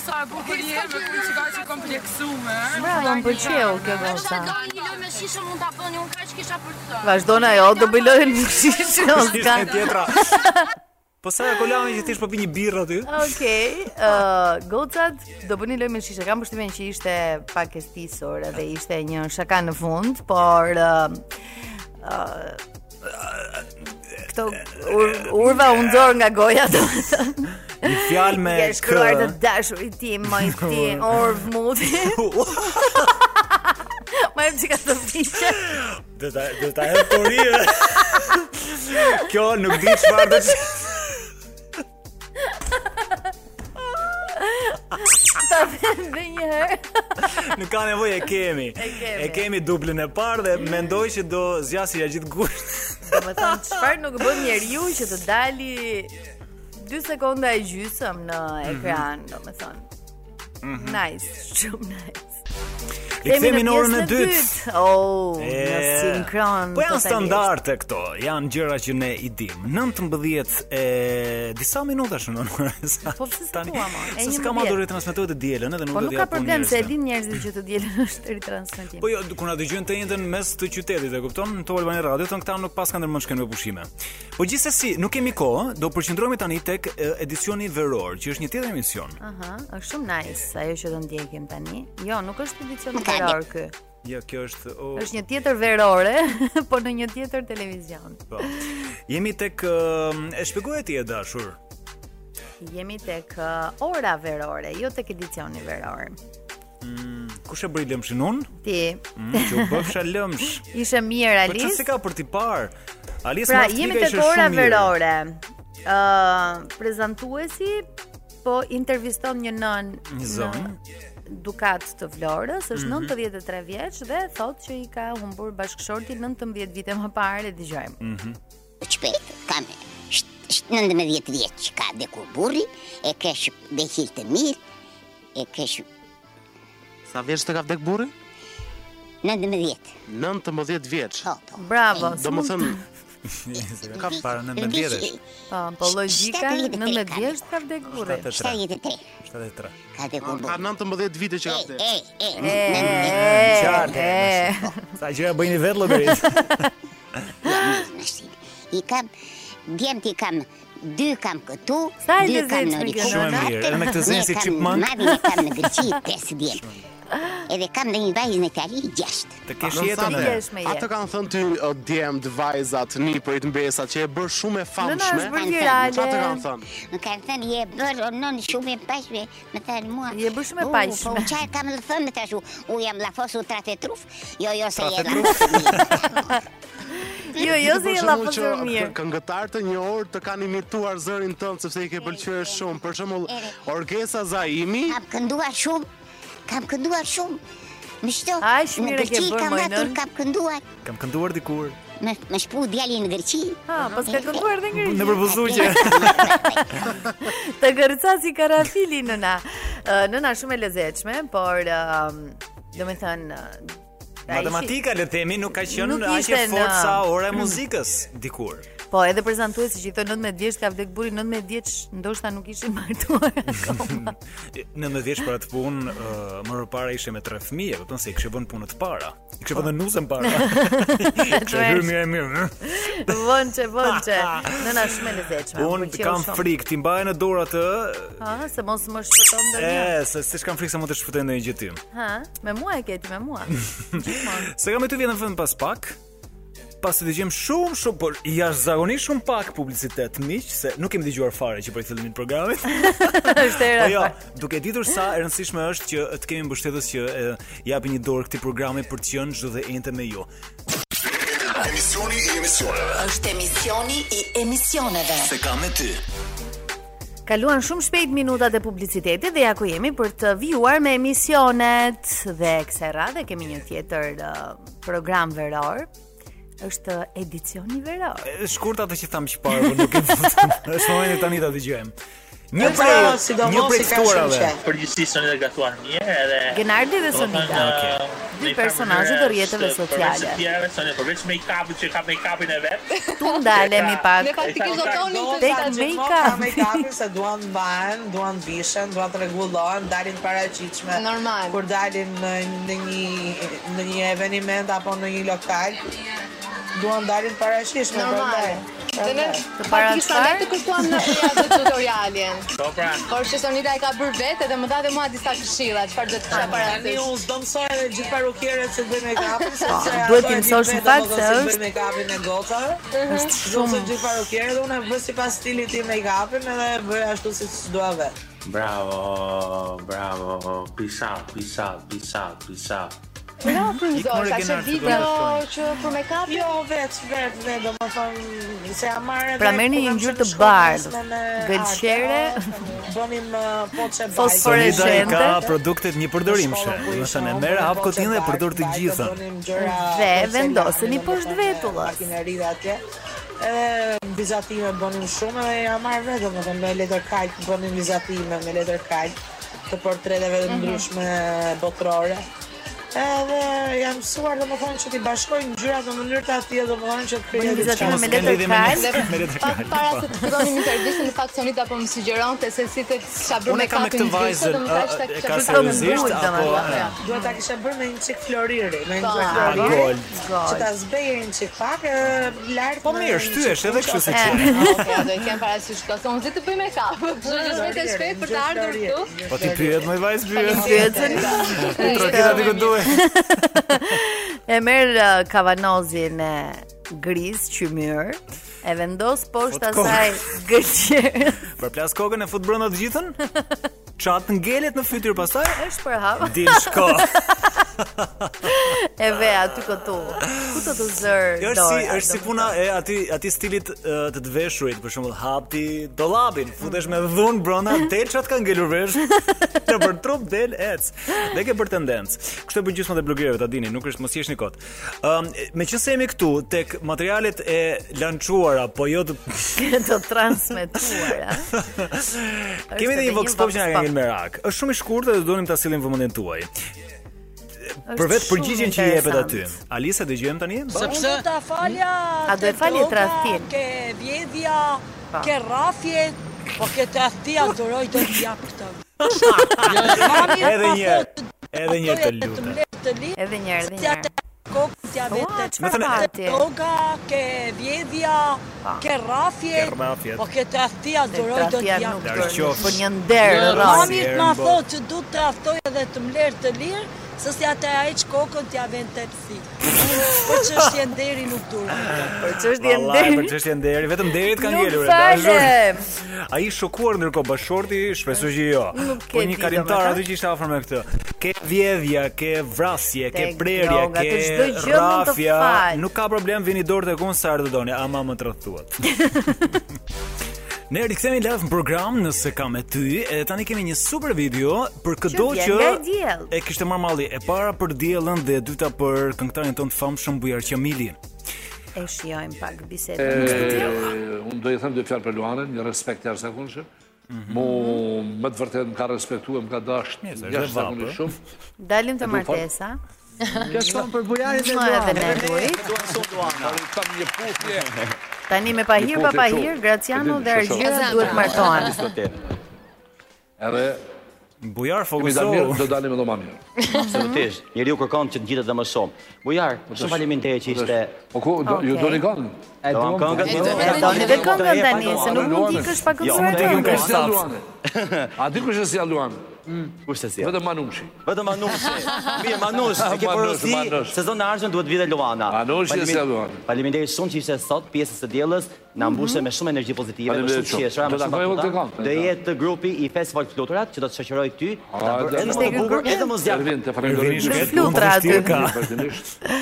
Speaker 12: sa e bukur një herë me kujtë që ka që kompleksume.
Speaker 8: Bravo, Pra, më pëlqeu kjo goca.
Speaker 12: Do një lojë me shishë mund t'a bëni, unë kaq kisha për të.
Speaker 8: Vazhdon ajo, do bëj lojën me shishe goca.
Speaker 9: Ishte tjetra. Po sa e kolami që tish po pi një birrë aty?
Speaker 8: Okej, ë gocat do bëni lojë me shishe. Kam përshtimin që ishte pak e stisur edhe ishte një shaka në fund, por ë ë, këto ur, urva u nxor nga goja do të thënë.
Speaker 9: Një fjalë me
Speaker 8: Ke shkruar të dashurit tim, moj ti, orv muti. Ma e që ka të fiqe
Speaker 9: Do ta do ta hedh porire. Kjo nuk di çfarë do të
Speaker 8: Ta them dhe një herë
Speaker 9: nuk ka nevojë e kemi.
Speaker 8: kemi.
Speaker 9: E kemi dublin e parë dhe mendoj që do zgjasë ja gjithë gusht.
Speaker 8: Do me thënë, qëfar nuk bën njeriu që të dali 2 sekonda e gjysëm në
Speaker 9: Mhm.
Speaker 8: ekran, do me thënë. Nice, shumë nice.
Speaker 9: I kthemi në orën Mhm. e dytë.
Speaker 8: Oh,
Speaker 9: E,
Speaker 8: në sinkron.
Speaker 9: Po janë
Speaker 8: totalisht.
Speaker 9: standarte këto, janë gjëra që ne i dim. 19 e disa minutash në orën. Po
Speaker 8: pse s'e
Speaker 9: tani?
Speaker 8: thua, ma? E
Speaker 9: Se
Speaker 8: një
Speaker 9: s'ka
Speaker 8: më
Speaker 9: madhur
Speaker 8: vjet.
Speaker 9: të transmetohet të dielën, edhe nuk
Speaker 8: Po
Speaker 9: do
Speaker 8: nuk
Speaker 9: të
Speaker 8: ka
Speaker 9: japun
Speaker 8: problem se e
Speaker 9: njerëzve.
Speaker 8: din njerëzit që të dielën është ritransmetim.
Speaker 9: Po jo, kur na dëgjojnë të njëjtën mes të qytetit, e kupton? Në Top Albani Radio thonë këta nuk pas kanë ndërmend shkën me pushime. Po gjithsesi, nuk kemi kohë, do përqendrohemi tani tek e, edicioni veror, që është një tjetër emision.
Speaker 8: Aha, është shumë nice ajo që do ndjekim tani. Jo, nuk është edicion
Speaker 9: Nuk ka ne.
Speaker 8: veror ky.
Speaker 9: Jo, kjo është o,
Speaker 8: Është një tjetër verore, po në një tjetër televizion.
Speaker 9: po. Jemi tek ë, e shpjegoje ti e dashur.
Speaker 8: Jemi tek uh, ora verore, jo tek edicioni veror.
Speaker 9: Mm, kush e bëri lëmshin unë?
Speaker 8: Ti
Speaker 9: Mm, që u bëfsha lëmsh.
Speaker 8: ishe mirë
Speaker 9: Po çfarë
Speaker 8: Alis.
Speaker 9: se ka për t'i parë? Alis
Speaker 8: Pra,
Speaker 9: Maftika
Speaker 8: jemi
Speaker 9: ishte
Speaker 8: tek ora
Speaker 9: shumë mirë.
Speaker 8: verore. Ë, prezantuesi po interviston një nën
Speaker 9: Një
Speaker 8: në
Speaker 9: zonjë.
Speaker 8: Dukat të Florës, është
Speaker 9: Mhm.
Speaker 8: 93 vjeç dhe thotë që i ka humbur bashkëshorti 19 vite më parë e dëgjojmë.
Speaker 13: Mhm. Shpejt, kam sht- sht- 19 vjetë që ka dhe kur burri, e kesh behil të mirë, e kesh
Speaker 14: Sa vjeç të ka vdek burri?
Speaker 13: 19.
Speaker 14: 19 vjeç.
Speaker 9: Mm.
Speaker 8: Bravo.
Speaker 14: Do më thënë,
Speaker 9: Ka para 19 vjetësh.
Speaker 8: Po, po logjika 19 vjeç ka vdek burri.
Speaker 13: 73.
Speaker 9: 73.
Speaker 13: Ka dhe kur
Speaker 14: ka 19 vite që ka vdek.
Speaker 13: E, e,
Speaker 8: E,
Speaker 9: Qartë. Sa gjëra bëjnë vetë llogarit.
Speaker 13: I kam, djemt i kam, dy kam këtu,
Speaker 8: Sa e
Speaker 13: dy kam në
Speaker 8: lezetshme kjo,
Speaker 13: Rikë.
Speaker 9: Shumë e mirë, edhe me këtë zënë si Chipmunk.
Speaker 13: Madin e kam në Greqi 5 djetë. Edhe kam dhe një vajzë në Itali, gjashtë.
Speaker 9: Të
Speaker 14: Në thane, Atë kanë thënë ty o djemtë, vajzat, nipërit, mbesat që e bërë shumë e famshme. Atë kanë thënë.
Speaker 13: Më kanë thënë, je bërë o nën shumë e pashme, më thënë mua.
Speaker 8: Je bërë shumë e
Speaker 13: "U,
Speaker 8: paqshme."
Speaker 13: Po, qarë kam dhe thënë, më thashu, u jam lafosu trate truf, jo, jo, se je
Speaker 8: Jo, jo, si e
Speaker 14: Për shembull
Speaker 8: llafozur
Speaker 14: që
Speaker 8: mirë.
Speaker 14: kë- Këngëtarë të një orë të kanë imituar zërin tënd sepse i ke pëlqyer shumë. Për shembull, Orgesa Zaimi
Speaker 13: Kam kënduar shumë, kam kënduar shumë. Më shto, në
Speaker 8: mirë e ke
Speaker 13: Greqi
Speaker 8: bërë,
Speaker 13: kam
Speaker 8: moj
Speaker 13: atur,
Speaker 8: nën.
Speaker 13: kam kënduar,
Speaker 9: Kam kënduar dikur.
Speaker 13: më, më shpu djali në Greqi.
Speaker 8: Ha, po pas ka kënduar dhe ngritë.
Speaker 9: Në përbuzuqe.
Speaker 8: Të gërca si karafili nëna. Ë, Nëna shumë e lezetshme, por ëm, do me thënë ë, ai ishi-
Speaker 9: Matematika le të themi nuk ka qenë
Speaker 8: Nuk
Speaker 9: aq e
Speaker 8: ishte
Speaker 9: fortë
Speaker 8: në-
Speaker 9: sa ora e muzikës dikur.
Speaker 8: Po, edhe prezantuesi që i thonë 19 vjeç ka vdek burri 19 vjeç, ndoshta nuk ishin martuar.
Speaker 9: Në 19 vjeç para të punë, ë, më parë ishte me tre fëmijë, e kupton se i kishte vënë punët para. I kishte
Speaker 8: Po.
Speaker 9: vënë nusën para. Kishte hyrë mirë e mirë. ëh.
Speaker 8: Vonçe, vonçe. Nëna shumë e lezetshme. më
Speaker 9: Unë
Speaker 8: pëlqeu
Speaker 9: kam
Speaker 8: shumë.
Speaker 9: frikë, ti mbaj në dorë atë.
Speaker 8: Ha, se mos më shpëton ndonjë.
Speaker 9: E, se s'ti kam frikë se mund të shpëtoj ndonjë gjë tim.
Speaker 8: Ha, me mua e keti, me mua.
Speaker 9: Se kam e ty vjen në fund pas pak. Pas të dëgjojmë shumë shumë por jashtëzakonisht shumë pak publicitet miq se nuk kemi dëgjuar fare që po për fillimin e programit.
Speaker 8: Është era.
Speaker 9: Po jo, duke ditur sa e rëndësishme është që të kemi mbështetës që e, japin një dorë këtij programi për të qenë çdo dhe ente me ju.
Speaker 6: Emisioni i emisioneve.
Speaker 7: Është emisioni i emisioneve.
Speaker 6: Se kam me ty.
Speaker 8: Kaluan shumë shpejt minutat e publicitetit dhe ja ku jemi për të vijuar me emisionet dhe kësaj radhe kemi një tjetër uh, program veror. Është edicioni veror.
Speaker 9: E, Shkurt atë që tham që parë, por nuk e futëm. Është momenti tani ta dëgjojmë. Një
Speaker 15: Po,
Speaker 9: prej,
Speaker 15: sidomos
Speaker 9: një
Speaker 15: i
Speaker 9: prej
Speaker 15: ka shumë
Speaker 9: ftuarave.
Speaker 15: qef. Përgjithsisht Sonida gatuan mirë edhe
Speaker 8: Gennardi
Speaker 15: do
Speaker 8: dhe
Speaker 15: të thënë,
Speaker 8: Sonida.
Speaker 15: ë,
Speaker 8: Dy
Speaker 15: në një farë
Speaker 8: personazhe të
Speaker 15: mënyrë
Speaker 8: rrjeteve
Speaker 15: është
Speaker 8: sociale.
Speaker 15: Përveç të tjerave, Sonida përveç make-upit që ka make-upin e vet.
Speaker 8: Tu ndalemi pak. Ne
Speaker 15: faktikisht do toni se
Speaker 8: tek
Speaker 15: sa
Speaker 8: make-up.
Speaker 16: make-upi se duan mbahen, duan vishen, duan të rregullohen, dalin të paraqitshme. Normal. Kur dalin në në një në një eveniment apo në një lokal, duan dalin të paraqitshme. prandaj.
Speaker 17: Dhe ne
Speaker 16: Të para
Speaker 17: faktikisht prandaj
Speaker 16: çfarë?
Speaker 17: të kërkuam në EA dhe tutorialin.
Speaker 15: Po pra.
Speaker 17: Por që Sonida e ka bërë vetë edhe më dha dhe mua disa këshilla çfarë do të kisha para
Speaker 16: Tani unë s'do mësoj edhe gjithë parukierët që bëjnë make-upin, sepse
Speaker 8: Ah,
Speaker 16: ato
Speaker 8: duhet
Speaker 16: e
Speaker 8: t'i
Speaker 16: din
Speaker 8: mësosh në
Speaker 16: vetëm,
Speaker 8: fakt
Speaker 16: domethënë, si
Speaker 8: se është-
Speaker 16: bëjnë make-upin e gocave.
Speaker 8: Është
Speaker 16: Do
Speaker 8: shumë.
Speaker 16: të gjithë parukierët unë e bëj sipas stilit tim make-upin edhe e bëj ashtu siç dua vetë.
Speaker 18: Bravo, bravo, pisa, pisa, pisa, pisa.
Speaker 17: No, frymëzoj,
Speaker 18: Ikmore
Speaker 17: ka
Speaker 18: Gennardi,
Speaker 17: shë video që për make-up?
Speaker 16: Jo, vetë, vetë, vetë, do më thonë, se a marrë
Speaker 8: Pra merrni një ngjyrë të bardhë, gëlqere,
Speaker 16: gëllqere, bënim po, uh, poçe bajtë.
Speaker 9: Sonida i ka produktet një përdorimshë. Do të thënë
Speaker 16: po
Speaker 9: merr hap kotinë dhe përdor të gjitha.
Speaker 8: Dhe vendoseni poshtë vetullës.
Speaker 16: Makineri dhe atje. Edhe vizatime bënim shumë edhe ja marrë vetë, do më thonë, me letër kalk bënim vizatime, me letër kalk të portreteve të
Speaker 17: Mhm.
Speaker 16: ndryshme botërore. Edhe jam mësuar domethënë që ti bashkoj ngjyrat në mënyrë të atij domethënë që të krijoj
Speaker 17: vizatime
Speaker 16: diçka.
Speaker 17: me letër S'ka lidhje me kalk. letër-
Speaker 9: Me letër
Speaker 17: Pa,
Speaker 9: kalë,
Speaker 17: para
Speaker 9: po.
Speaker 17: se të fillonim intervistën, në fakt Sonida po më sugjeronte se si të kisha bërë
Speaker 9: Unë e kam me
Speaker 17: make-upin
Speaker 9: këtë vajzën,
Speaker 17: ndryshe, dhe më thash
Speaker 9: ë,
Speaker 17: ta
Speaker 9: ë,
Speaker 17: kisha
Speaker 9: ka
Speaker 17: bërë
Speaker 9: seriozisht,
Speaker 17: me
Speaker 9: apo,
Speaker 17: make-up.
Speaker 9: ë?
Speaker 17: Ja.
Speaker 16: Duhet ta kisha bërë me një çik floriri, me një
Speaker 17: Po,
Speaker 16: çik
Speaker 9: Ah,
Speaker 16: floriri.
Speaker 9: gold,
Speaker 16: Që ta zbejë një çik pak e, lart. Po
Speaker 9: mirë, shtyesh edhe kështu si
Speaker 17: E,
Speaker 9: qenë.
Speaker 17: Okej, do i kem parasysh këtë, se unë zi të bëj make-up. Kështu që shpejt e shpejt për të ardhur këtu.
Speaker 9: Po ti pyet më vajz pyet.
Speaker 8: Pyet, Sonida.
Speaker 9: Troketa ti ku duhet.
Speaker 8: E merr uh, kavanozin e gris qymyr, e vendos poshtë
Speaker 9: Fut kokë.
Speaker 8: asaj gëlqer.
Speaker 9: Për plas kokën e fut brenda të gjithën. Çat ngelet në fytyrë pastaj.
Speaker 8: Është për hava.
Speaker 9: Dil shko.
Speaker 8: E ve aty këtu. Ku të të zër?
Speaker 9: Është si është si puna e aty aty stilit ë, të të veshurit, për shembull, hapti dollapin, futesh me dhun brenda, del çat ka ngelur vesh. Të për trup del ec. Dhe ke për tendencë. Kështu e bën gjysmë të blogjerëve, ta dini, nuk është mos jeshni kot. Ëm, meqense jemi këtu tek materialet e lançuara, po jo të
Speaker 8: të transmetuara.
Speaker 9: Kemi edhe
Speaker 8: edhe
Speaker 9: një vox pop që na ka
Speaker 8: vox
Speaker 9: ngel merak. Është shumë i shkurtë dhe donim ta sillim vëmendjen tuaj.
Speaker 8: Është
Speaker 9: Për vetë
Speaker 8: shumë
Speaker 9: përgjigjen që i jepet aty.
Speaker 8: interesant.
Speaker 9: Alisa dëgjojmë tani?
Speaker 16: Sepse
Speaker 1: Unë do ta falja.
Speaker 8: A
Speaker 1: të
Speaker 8: do e falje
Speaker 1: droga,
Speaker 8: tradhtin?
Speaker 1: Ke vjedhja,
Speaker 8: Pa.
Speaker 1: ke rafje, po ke tradhtia duroj të jap këtë.
Speaker 9: Edhe një herë. Edhe një herë të lutem.
Speaker 1: Të li.
Speaker 8: Edhe një herë, edhe një herë.
Speaker 1: Kokë t'ja vetë
Speaker 8: çfarë Më thënë- hapti?
Speaker 1: droga, ke vjedhja,
Speaker 8: Po.
Speaker 1: ke rafje,
Speaker 9: Ke rafje.
Speaker 1: po ke tradhtia duroj të
Speaker 8: tradhtia
Speaker 1: jap
Speaker 8: nuk
Speaker 1: këtë.
Speaker 9: Lartë qoftë.
Speaker 8: Për një nder
Speaker 1: Mami
Speaker 8: rrasi.
Speaker 1: ma thotë që du të aftoj edhe të mlerë të lirë,
Speaker 19: se s'ja të aq kokën t'ja vend të psi. Për çështje deri nuk duhet.
Speaker 8: Për çështje
Speaker 9: Vallaj,
Speaker 8: nderi.
Speaker 9: për çështje nderi, vetëm derit kanë
Speaker 8: Nuk
Speaker 9: ngelur e
Speaker 8: falem.
Speaker 9: dashur. Ai shokuar ndërkohë bashorti, shpresoj që jo.
Speaker 8: Nuk ke
Speaker 9: Po një
Speaker 8: ditë,
Speaker 9: kalimtar
Speaker 8: domethënë.
Speaker 9: aty që ishte afër me këtë. Ke vjedhja, ke vrasje, ke
Speaker 8: Tek
Speaker 9: prerje,
Speaker 8: droga,
Speaker 9: ke
Speaker 8: të çdo gjë mund të
Speaker 9: rafja.
Speaker 8: fal.
Speaker 9: Nuk ka problem, vini dorë tek unë sa herë të doni, ama më tradhtuat. Ne rikthehemi live në program nëse kam me ty, e tani kemi një super video për këdo
Speaker 8: Që vjen
Speaker 9: që
Speaker 8: nga diell.
Speaker 9: e kishte marrë malli, e para për diellën dhe e dyta për këngëtarin ton të famshëm Bujar Qamilin.
Speaker 8: E shijojmë pak bisedën.
Speaker 20: E, unë do i them dy fjalë për Luanën, një respekt të jashtëzakonshëm.
Speaker 9: Mhm.
Speaker 20: Mu më të vërtet më ka respektuar, më ka dashur
Speaker 8: Mirë, se është
Speaker 9: dhe
Speaker 20: jashtëzakonisht
Speaker 9: vapë.
Speaker 20: shumë.
Speaker 8: Dalim të
Speaker 20: E, du, fal-
Speaker 8: martesa.
Speaker 20: Kjo shkon për
Speaker 8: bujarin dhe Luanën. Edhe ne duhet.
Speaker 20: Kam një pufje.
Speaker 8: Tani me pahir
Speaker 20: Një
Speaker 8: pa
Speaker 20: putë e
Speaker 8: pahir,
Speaker 20: qo-
Speaker 8: Graciano
Speaker 20: e
Speaker 8: dhe
Speaker 20: di, shosho.
Speaker 8: Argjira duhet martohen.
Speaker 20: Edhe
Speaker 9: Bujar
Speaker 20: fokusohu. Mirë, do dalim edhe më mirë.
Speaker 21: Absolutisht. Njeriu kërkon që të ngjitet dhe më shumë. Bujar, shumë faleminderit që ishte.
Speaker 20: Po ku do- ju doni këngën?
Speaker 21: E duam këngën.
Speaker 8: E duam këngën. E doni dhe këngën tani, se nuk mund
Speaker 20: Luanën.
Speaker 8: t'ikësh pa këngën
Speaker 20: Jo,
Speaker 8: e
Speaker 20: mund t'ikën
Speaker 8: tënde.
Speaker 20: ka sjell Luanën. A di kush e sjell Luanën?
Speaker 21: Kush e sjell?
Speaker 20: Vetëm Manushi.
Speaker 21: Vetëm Manushi. Mirë, Manush, e ke
Speaker 20: Manush,
Speaker 21: porosi,
Speaker 20: Manush.
Speaker 21: sezonin e ardhshëm duhet vjen Luana.
Speaker 20: Manush,
Speaker 21: Falemin-
Speaker 20: e sjell Luana. Mhm.
Speaker 21: Faleminderit shumë që ishte sot pjesës së diellës, na mbushe me shumë energji pozitive, me
Speaker 20: Faleminderit
Speaker 21: shumë
Speaker 20: shumë.
Speaker 21: qeshra,
Speaker 20: Do
Speaker 21: me shumë
Speaker 20: takojmë
Speaker 21: batuta.
Speaker 20: këtë kampë.
Speaker 21: Do jetë të grupi i Festival Fluturat që do të shoqëroj ty, ta
Speaker 20: Hajde,
Speaker 21: bërë edhe më
Speaker 20: ishte
Speaker 21: të
Speaker 20: ky
Speaker 21: bukur,
Speaker 20: grupi?
Speaker 21: edhe më zjarr.
Speaker 20: Ervin, të falenderoj. Ervini Shket,
Speaker 21: Në
Speaker 20: unë po vështirë ka.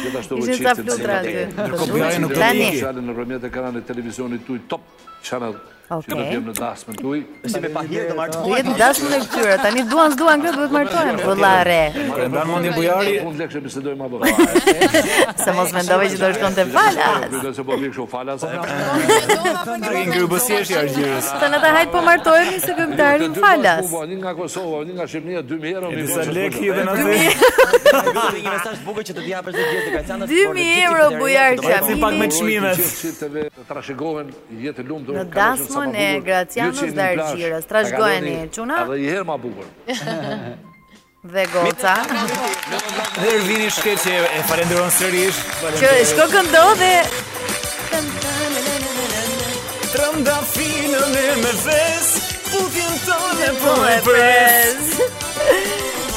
Speaker 21: Gjithashtu
Speaker 8: Ishin ca flutra aty.
Speaker 20: Ndërkohë Bjari nuk do të ishte nëpërmjet e kanalit televizionit tuaj Top Channel. Që do të jem në dasmën tuaj.
Speaker 21: Si me pahir do martohem.
Speaker 8: Do Po, jetë dashmë në këtyre. Tani duan s'duan këtë duhet martohen. Vëllare.
Speaker 20: E ndan mendin Bujari. Unë lekë bisedoj më vonë.
Speaker 8: Se mos mendove që do shkonte falas.
Speaker 20: Pyetën se po vjen kështu falas.
Speaker 9: Ai ngrybësiesh i argjyrës.
Speaker 8: Të në të hajtë po martohemi se këngëtari më falas.
Speaker 20: Një nga Kosova, një nga Shqipëria, 2000 euro.
Speaker 9: E
Speaker 20: mi
Speaker 9: disa
Speaker 20: bën
Speaker 9: lek
Speaker 20: çfarë
Speaker 9: hidhen
Speaker 20: bëjnë.
Speaker 9: aty.
Speaker 21: Dhe një mesazh bukur që do t'i japësh gjithë Gracianës.
Speaker 8: 2000 euro, Bujar Gjamili. Eci pak me çmimet.
Speaker 20: Çiteve trashëgohen, jetë e lumtur.
Speaker 8: Në
Speaker 20: ka qenë sa
Speaker 8: dasmën
Speaker 20: ma
Speaker 8: e
Speaker 20: bukur.
Speaker 8: Gracianos
Speaker 20: Ju që jeni
Speaker 8: dhe
Speaker 20: në plazh,
Speaker 8: Argjirës,
Speaker 20: ta
Speaker 8: trashëgoheni,
Speaker 20: kaloni
Speaker 8: çuna?
Speaker 20: Edhe një herë më bukur.
Speaker 8: Dhe goca.
Speaker 9: Dhe Ervini shket që e falenderon sërish.
Speaker 8: Që shko këndo dhe
Speaker 9: Trënda finën e me ves Putjen tonë
Speaker 8: po e pres.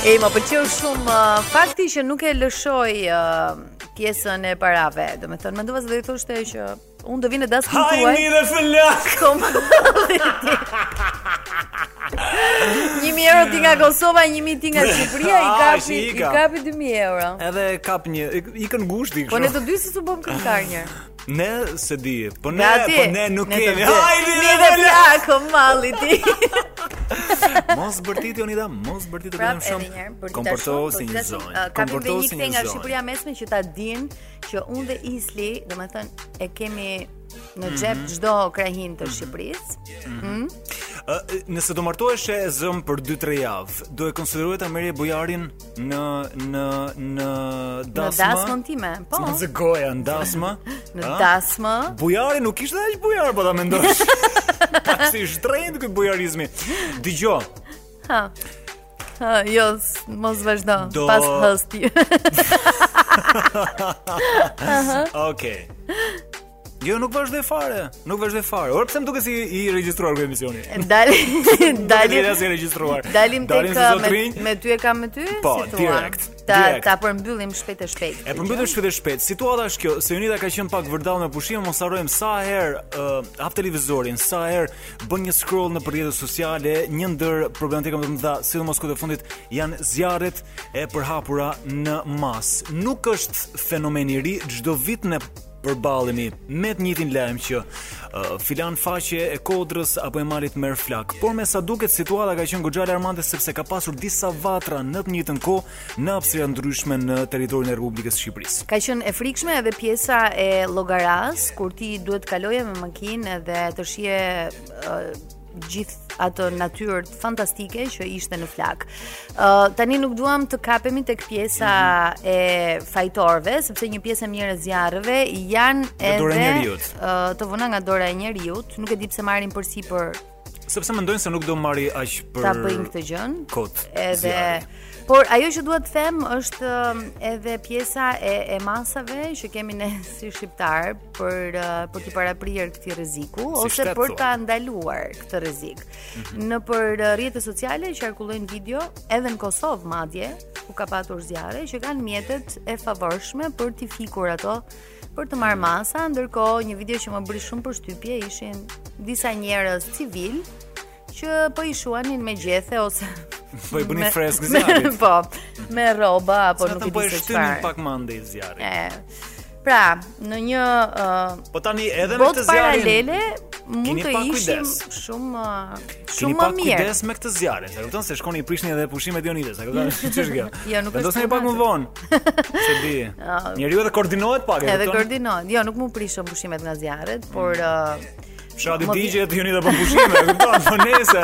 Speaker 8: E më pëlqeu shumë uh, fakti që nuk e lëshoj uh, pjesën e parave. Do me thënë, mendova se do i thoshte që unë do vinë në dasmën tuaj.
Speaker 9: Hajni dhe flak.
Speaker 8: Kom. 1000 euro ti nga Kosova, 1000 ti nga Shqipëria, i
Speaker 9: Ah,
Speaker 8: kapi
Speaker 9: shi, i
Speaker 8: i
Speaker 9: ka.
Speaker 8: kapi 2000 euro.
Speaker 9: Edhe kap një i- ikën gushti kështu.
Speaker 8: Po ne të dy si su bëm këngëtar një.
Speaker 9: Ne se di, po ne
Speaker 8: Me ati,
Speaker 9: po ne nuk
Speaker 8: ne të
Speaker 9: kemi.
Speaker 8: dy.
Speaker 9: Hajde
Speaker 8: Mi dhe plako malli ti.
Speaker 9: Mos bërtiti Jonida, mos bërtiti
Speaker 8: Prap
Speaker 9: vetëm
Speaker 8: edhe
Speaker 9: shumë.
Speaker 8: një herë, për po
Speaker 9: Komporto si një zonjë.
Speaker 8: Ka uh, dhe
Speaker 9: Komporto
Speaker 8: një
Speaker 9: si
Speaker 8: kte
Speaker 9: një
Speaker 8: nga
Speaker 9: zonjë.
Speaker 8: Shqipëria mesme që ta din që unë dhe Isli, domethënë e kemi në
Speaker 9: Mhm.
Speaker 8: xhep çdo krahin të Shqipërisë. Mhm.
Speaker 9: Ë, Nëse do martohesh e zëm për 2-3 javë, do e konsiderohet ta merrje bujarin në në në
Speaker 8: Në
Speaker 9: dasmë.
Speaker 8: dasmën time, po.
Speaker 9: Në zë goja në dasmë.
Speaker 8: Në
Speaker 9: a?
Speaker 8: dasmë.
Speaker 9: Bujari nuk ishte aq bujar, po ta mendosh. Pak si shtrenjtë ky bujarizmi. Dgjoj,
Speaker 8: Ha. Ha, jo, s- mos vazhdo.
Speaker 9: Do-
Speaker 8: Pas hës ti.
Speaker 9: Okej. Jo, nuk vazhdoj fare. Nuk vazhdoj fare. Ora pse më duket si i regjistruar ky emisioni?
Speaker 8: Dali dali
Speaker 9: Dalim si regjistruar.
Speaker 8: Dalim tek uh,
Speaker 9: se zot
Speaker 8: me,
Speaker 9: rinj.
Speaker 8: me ty e kam me ty
Speaker 9: Po,
Speaker 8: si thua?
Speaker 9: direkt,
Speaker 8: Ta
Speaker 9: direkt.
Speaker 8: ta përmbyllim shpejt e shpejt.
Speaker 9: E përmbytëm shpejt e shpejt. Situata është kjo, se Unita ka qenë pak vërdall me pushimin, mos harrojmë sa herë uh, hap televizorin, sa herë bën një scroll në rrjetet sociale, një ndër problematikat më të mëdha, sidomos kohë të fundit, janë zjarret e përhapura në mas. Nuk është fenomen i ri, çdo vit ne përballemi me të njëjtin lajm që uh, filan faqe e Kodrës apo e Malit merr flak. Por me sa duket situata ka qenë goxha alarmante sepse ka pasur disa vatra në të njëjtën kohë në hapësira ndryshme në territorin e Republikës së Shqipërisë.
Speaker 8: Ka qenë e frikshme edhe pjesa e llogaras kur ti duhet të kaloje me makinë dhe të shije ë, gjithë atë natyrë të fantastike që ishte në flak. Ë tani nuk duam të kapemi tek pjesa
Speaker 9: Mhm.
Speaker 8: e fajtorëve, sepse një pjesë e mirë e zjarrëve janë
Speaker 9: Nga dora e
Speaker 8: edhe
Speaker 9: njerëzit.
Speaker 8: ë, të vëna nga dora e njeriu, nuk e di pse marrin përsipër
Speaker 9: Sepse mendojnë se nuk do marri aq për
Speaker 8: ta bëjnë këtë gjën.
Speaker 9: Kot.
Speaker 8: Edhe
Speaker 9: zjarri.
Speaker 8: Por ajo që dua të them është ëm, edhe pjesa e, e masave që kemi ne si shqiptar për ë, për të paraprirë këtë rreziku
Speaker 4: Si
Speaker 8: ose
Speaker 4: shtetë,
Speaker 8: për
Speaker 4: thua.
Speaker 8: ta ndaluar këtë rrezik. Në për ë, rrjetet sociale qarkullojnë video edhe në Kosovë madje, ku ka patur zjarre që kanë mjetet e favorshme për t'i fikur ato për të marrë masa, ndërkohë një video që më bëri shumë përshtypje ishin disa njerëz civil që po i shuanin me gjethe ose
Speaker 9: Po i bëni
Speaker 8: me-
Speaker 9: freskë
Speaker 8: me-
Speaker 9: zjarrit.
Speaker 8: Po, me rroba apo
Speaker 9: Sa
Speaker 8: nuk
Speaker 9: ta
Speaker 8: e
Speaker 9: po
Speaker 8: di
Speaker 9: e
Speaker 8: se
Speaker 9: shtymin
Speaker 8: çfarë.
Speaker 9: pak më andej zjarrit.
Speaker 8: E. Pra, në një uh,
Speaker 9: Po tani edhe me
Speaker 8: botë
Speaker 9: këtë zjarrin.
Speaker 8: paralele mund
Speaker 9: keni
Speaker 8: të
Speaker 9: pak
Speaker 8: ishim
Speaker 9: kujdes.
Speaker 8: shumë ë,
Speaker 9: Keni
Speaker 8: shumë më
Speaker 9: pak
Speaker 8: mirë.
Speaker 9: kujdes me këtë zjarrin. E kupton se shkoni i prishni edhe pushimet Dionides, e kupton ç'është kjo?
Speaker 8: Jo, nuk është
Speaker 9: Vendosni pak më vonë. Se di.
Speaker 8: Ah.
Speaker 9: Njeriu edhe koordinohet pak, e
Speaker 8: Edhe
Speaker 9: kupton? Mm.
Speaker 8: koordinohet. Jo, nuk mu prishën pushimet nga zjarret, por ë,
Speaker 9: Shadi
Speaker 8: Mo-
Speaker 9: digje të joni dhe për pushime, e kupton? Po nese.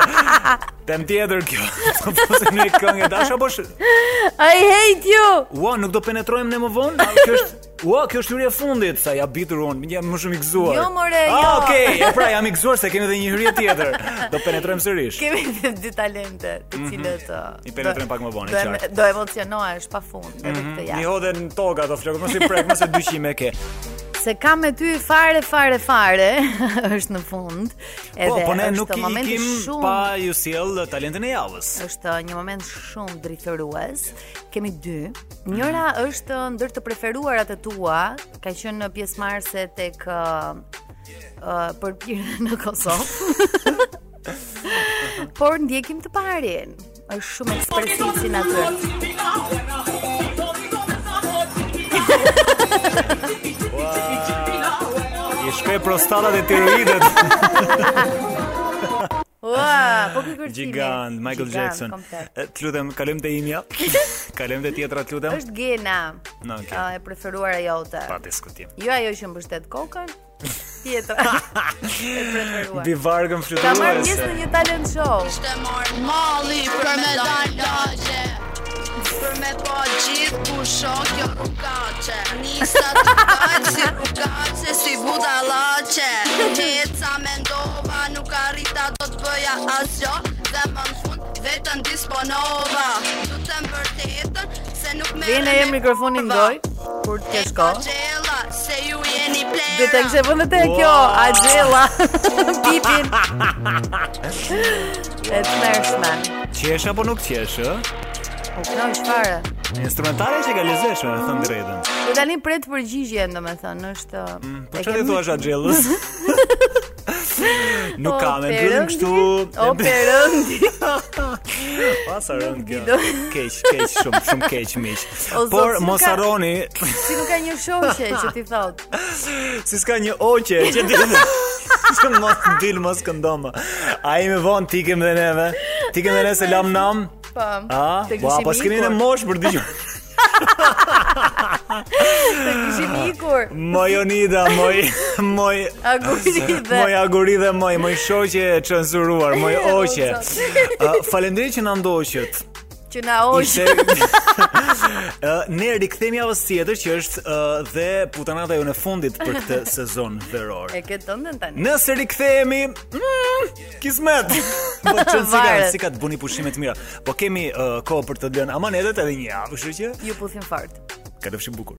Speaker 9: Tem tjetër kjo. Po se ne këngë dash apo sh...
Speaker 8: I hate you.
Speaker 9: Ua, nuk do penetrojmë ne më vonë? A, Kjo është Ua, kjo është hyrje e fundit, sa ja bitur unë, jam më shumë i gëzuar.
Speaker 8: Jo, more,
Speaker 9: ah,
Speaker 8: jo.
Speaker 9: Okej, e pra jam i gëzuar se kemi edhe një hyrje tjetër. Do penetrojmë sërish.
Speaker 8: kemi të dy talente, të
Speaker 9: Mhm.
Speaker 8: cilët ë,
Speaker 9: I penetrojmë pak më vonë,
Speaker 8: do
Speaker 9: e qartë.
Speaker 8: do emocionohesh pafund edhe
Speaker 9: Mhm,
Speaker 8: këtë
Speaker 9: Një
Speaker 8: javë.
Speaker 9: hodhe në toga do flokët, mos i prek, mos e 200 e ke.
Speaker 8: Se kam me ty fare fare fare është në fund. Edhe
Speaker 9: po, po ne
Speaker 8: është
Speaker 9: nuk i
Speaker 8: momenti
Speaker 9: ikim
Speaker 8: shumë
Speaker 9: pa ju sjell talentin e javës.
Speaker 8: është një moment shumë drithërues. Kemi dy. Njëra është ndër të preferuarat e tua, ka qenë pjesëmarrëse tek uh, uh, për pirën në Kosovë. Por ndjekim të parin. Është shumë ekspresiv si natyrë.
Speaker 9: I shkoj prostatat e tiroidet.
Speaker 8: Ua, po ky kërcimi.
Speaker 9: Gigant, Michael
Speaker 8: Gigant,
Speaker 9: Jackson.
Speaker 8: komplet.
Speaker 9: E, Të lutem, kalojmë te imja. Kalojmë te tjetra, të lutem.
Speaker 8: Është Gena.
Speaker 9: No, okay.
Speaker 8: uh, e preferuara jote.
Speaker 9: Pa diskutim.
Speaker 8: Jo ajo që mbështet kokën, tjetra e preferuar.
Speaker 9: Bi vargën
Speaker 8: Ka marrë pjesë
Speaker 9: fluturuese.
Speaker 8: në një talent show.
Speaker 12: Ishte marrë mali për me dalë lagje Për me pa gjithë ku shok jo rrugace Nisa të kajtë si rrugace si budalace Heca me ndova nuk arrita do të bëja asjo Dhe më në fund vetën disponova Du të më vërtetën se nuk me
Speaker 8: Vjen e mikrofonin ndoj kur të kesh kohë.
Speaker 12: gjela Se ju jeni plera
Speaker 8: Dhe të kishe vënë te kjo Axhella Pipin e të mërshme.
Speaker 9: Qesh apo nuk qesh, ë?
Speaker 8: U kënaqsh fare.
Speaker 9: Instrumentare që ka lezeshme,
Speaker 8: Mm.
Speaker 9: me thënë drejtën.
Speaker 8: Dhe tani pret përgjigjen domethënë, është
Speaker 9: Po
Speaker 8: e
Speaker 9: çfarë
Speaker 8: kemi-
Speaker 9: thua Axhellës? Nuk
Speaker 8: O,
Speaker 9: ka me mbyllim
Speaker 8: perëndi,
Speaker 9: kështu.
Speaker 8: O perëndi.
Speaker 9: Pa sa rënd kjo.
Speaker 8: do.
Speaker 9: Keq, keq shumë, shumë keq miq.
Speaker 8: O, zot,
Speaker 9: Por
Speaker 8: si nuk
Speaker 9: mos
Speaker 8: ka-
Speaker 9: harroni,
Speaker 8: Si nuk ka një shoqe që ti thot.
Speaker 9: si s'ka një oqe që ti që mos dil mos këndoma. Ai më vonë ti kem dhe neve. Ti kem dhe ne se lam nam.
Speaker 8: Po.
Speaker 9: A,
Speaker 8: të
Speaker 9: po
Speaker 8: kishim
Speaker 9: po s'keni në
Speaker 8: ikur.
Speaker 9: mosh për dëgjoj.
Speaker 8: Të kishim ikur.
Speaker 9: Mojonida, moj, moj,
Speaker 8: Aguridhe.
Speaker 9: moj aguri dhe moj, moj shoqe e censuruar, moj
Speaker 8: O,
Speaker 9: oqe.
Speaker 8: zot.
Speaker 9: Uh, Faleminderit që na ndoqët.
Speaker 8: Që na oq.
Speaker 9: Ishte- Ë, ne rikthehemi javës tjetër që është ë, dhe putanata jonë e fundit për këtë sezon veror.
Speaker 8: E ke tëndën tani.
Speaker 9: Nëse rikthehemi, mm, kismet. Po çon si ka,
Speaker 8: Varet.
Speaker 9: si ka të bëni pushime të uh, mira. Po kemi ë, kohë për të lënë amanetet edhe një javë, kështu që
Speaker 8: Ju puthim fort.
Speaker 9: ka të fshi bukur.